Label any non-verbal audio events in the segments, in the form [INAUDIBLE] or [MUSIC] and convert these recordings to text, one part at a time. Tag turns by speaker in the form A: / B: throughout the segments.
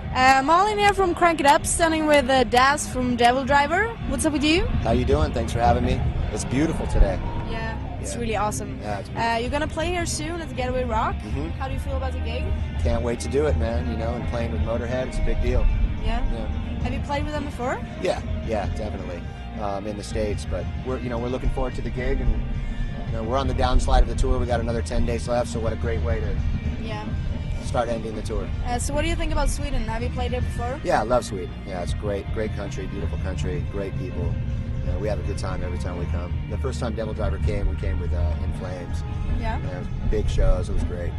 A: Uh, Marlon here from Crank It Up, standing with uh, Daz from Devil Driver. What's up with you?
B: How you doing? Thanks for having me. It's beautiful today.
A: Yeah, it's
B: Yeah.
A: really awesome.
B: Yeah, it's
A: uh, you're gonna play here soon at the Getaway Rock.
B: Mhm.
A: How do you feel about the gig?
B: Can't wait to do it, man. You know, and playing with Motorhead, it's a big deal.
A: Yeah.
B: Yeah,
A: Have you played with them before?
B: yeah, yeah definitely. Um, in the states, but we're you know we're looking forward to the gig, and you know we're on the downslide of the tour. We got another ten days left, so what a great way to
A: Yeah.
B: start ending the tour.
A: Uh, so what do you think about Sweden? Have you played there before?
B: Yeah, I love Sweden. Yeah, it's great, great country, beautiful country, great people. You know, we have a good time every time we come. The first time Devil Driver came, we came with uh, In Flames.
A: Yeah.
B: You know, big shows. It was great.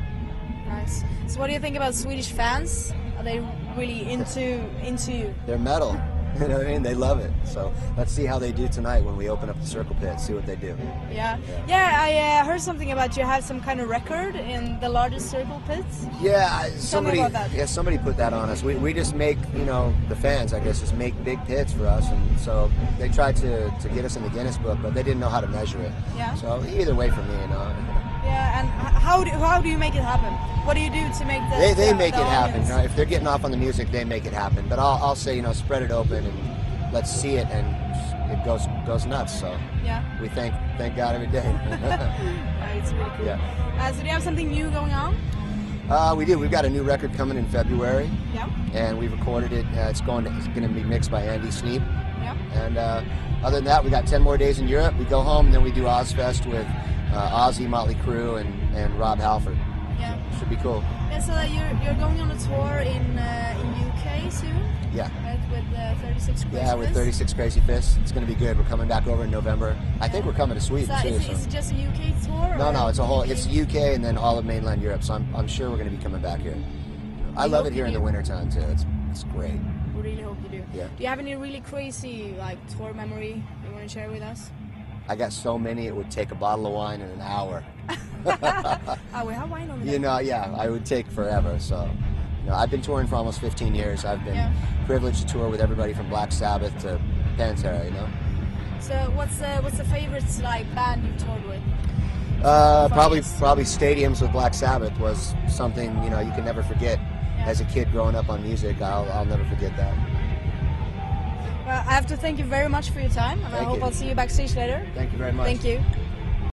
A: Nice. So what do you think about Swedish fans? Are they really into into you?
B: They're metal. [LAUGHS] You know what I mean? They love it. So let's see how they do tonight when we open up the circle pit. See what they do.
A: Yeah. Yeah. I uh, heard something about you have some kind of record in the largest circle pits.
B: Yeah, I- somebody.
A: about that.
B: Yeah, somebody put that on us. We, we just make you know the fans, I guess, just make big pits for us, and so they tried to, to get us in the Guinness Book, but they didn't know how to measure it.
A: Yeah.
B: So either way for me, you know.
A: Yeah. And h- how do how do you make it happen? What do you do to make the
B: They, they
A: the-
B: make
A: the
B: it happen.
A: audience?
B: right? If they're getting off on the music, they make it happen. But I'll, I'll say, you know, spread it open and let's see it, and it goes goes nuts. So
A: Yeah.
B: we thank thank God every day. [LAUGHS]
A: Uh, it's really cool.
B: Yeah.
A: Uh, so do you have something new going on?
B: uh, we do. We've got a new record coming in February,
A: Yeah.
B: and we recorded it. Uh, it's going. To, it's going to be mixed by Andy Sneap.
A: Yeah.
B: And uh, other than that, we got ten more days in Europe. We go home, and then we do Ozfest with uh, Ozzy, Motley Crue, and and Rob Halford.
A: Yeah.
B: Should be cool.
A: Yeah, so that you're, you're going on a tour in uh, in UK soon,
B: Yeah.
A: right? With uh, 36 Christmas.
B: Yeah, with 36 Crazy Fists. It's going to be good. We're coming back over in November. I think we're coming to
A: So
B: Sweden, too.
A: is, it,
B: so-
A: is it just a UK tour?
B: No,
A: or-
B: no, it's a whole, it's UK and then all of mainland Europe, so I'm, I'm sure we're going to be coming back here. I
A: We
B: love
A: hope
B: it here
A: you
B: in the
A: do.
B: wintertime, too. It's, it's great.
A: We really hope you do.
B: Yeah.
A: Do you have any really crazy like tour memory you want to share with us?
B: I got so many, it would take a bottle of wine in an hour.
A: Oh, we have wine over there.
B: You know, yeah, I would take forever, so. You know, I've been touring for almost 15 years. I've been
A: Yeah.
B: privileged to tour with everybody from Black Sabbath to Pantera, you know?
A: So what's uh, what's the favorite like band you've toured with?
B: Uh, probably,
A: Funniest.
B: probably stadiums with Black Sabbath was something you know you can never forget. As a kid growing up on music, I'll, I'll never forget that.
A: Well, I have to thank you very much for your time, and I
B: Thank
A: hope
B: you.
A: I'll see you backstage later.
B: Thank you very much.
A: Thank you.